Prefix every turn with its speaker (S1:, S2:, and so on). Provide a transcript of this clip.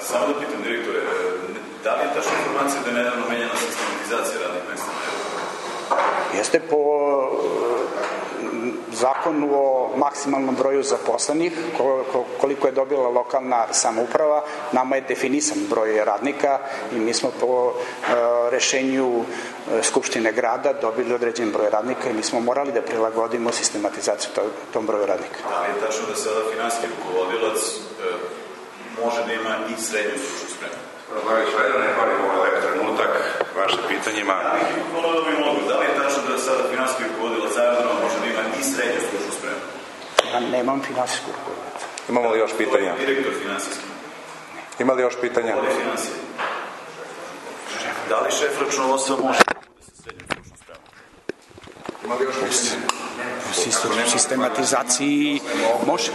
S1: Samo da pitam direktore, e, da li je tačna informacija da je nedavno menjena sistematizacija radnih mesta?
S2: Jeste po e, zakonu o maksimalnom broju zaposlenih, ko- ko- koliko je dobila lokalna samouprava, nama je definisan broj radnika i mi smo po e, rešenju e, Skupštine grada dobili određen broj radnika i mi smo morali da prilagodimo sistematizaciju to- tom broju radnika.
S1: Da li je tačno da sada finanski rukovodilac e, može da ima i srednju stručnu spremu?
S3: Razlagaj sve da ne parimo ovaj lep trenutak vašim pitanjima.
S1: Da li, voleo da bih mogu, da li je tačno da sada finanski rukovodilac aerodroma može da ima i srednju stručnu spremu?
S2: Ja nemam finansijsku rukovodnicu.
S4: Imamo li još pitanja?
S1: Direktor finansijski.
S4: Ima li još pitanja?
S1: Vode finansije. Da li šef računovodstva može da bude sa srednjom stručnom spremom?
S3: Ima li još pitanja?
S2: Sistematizaciji može.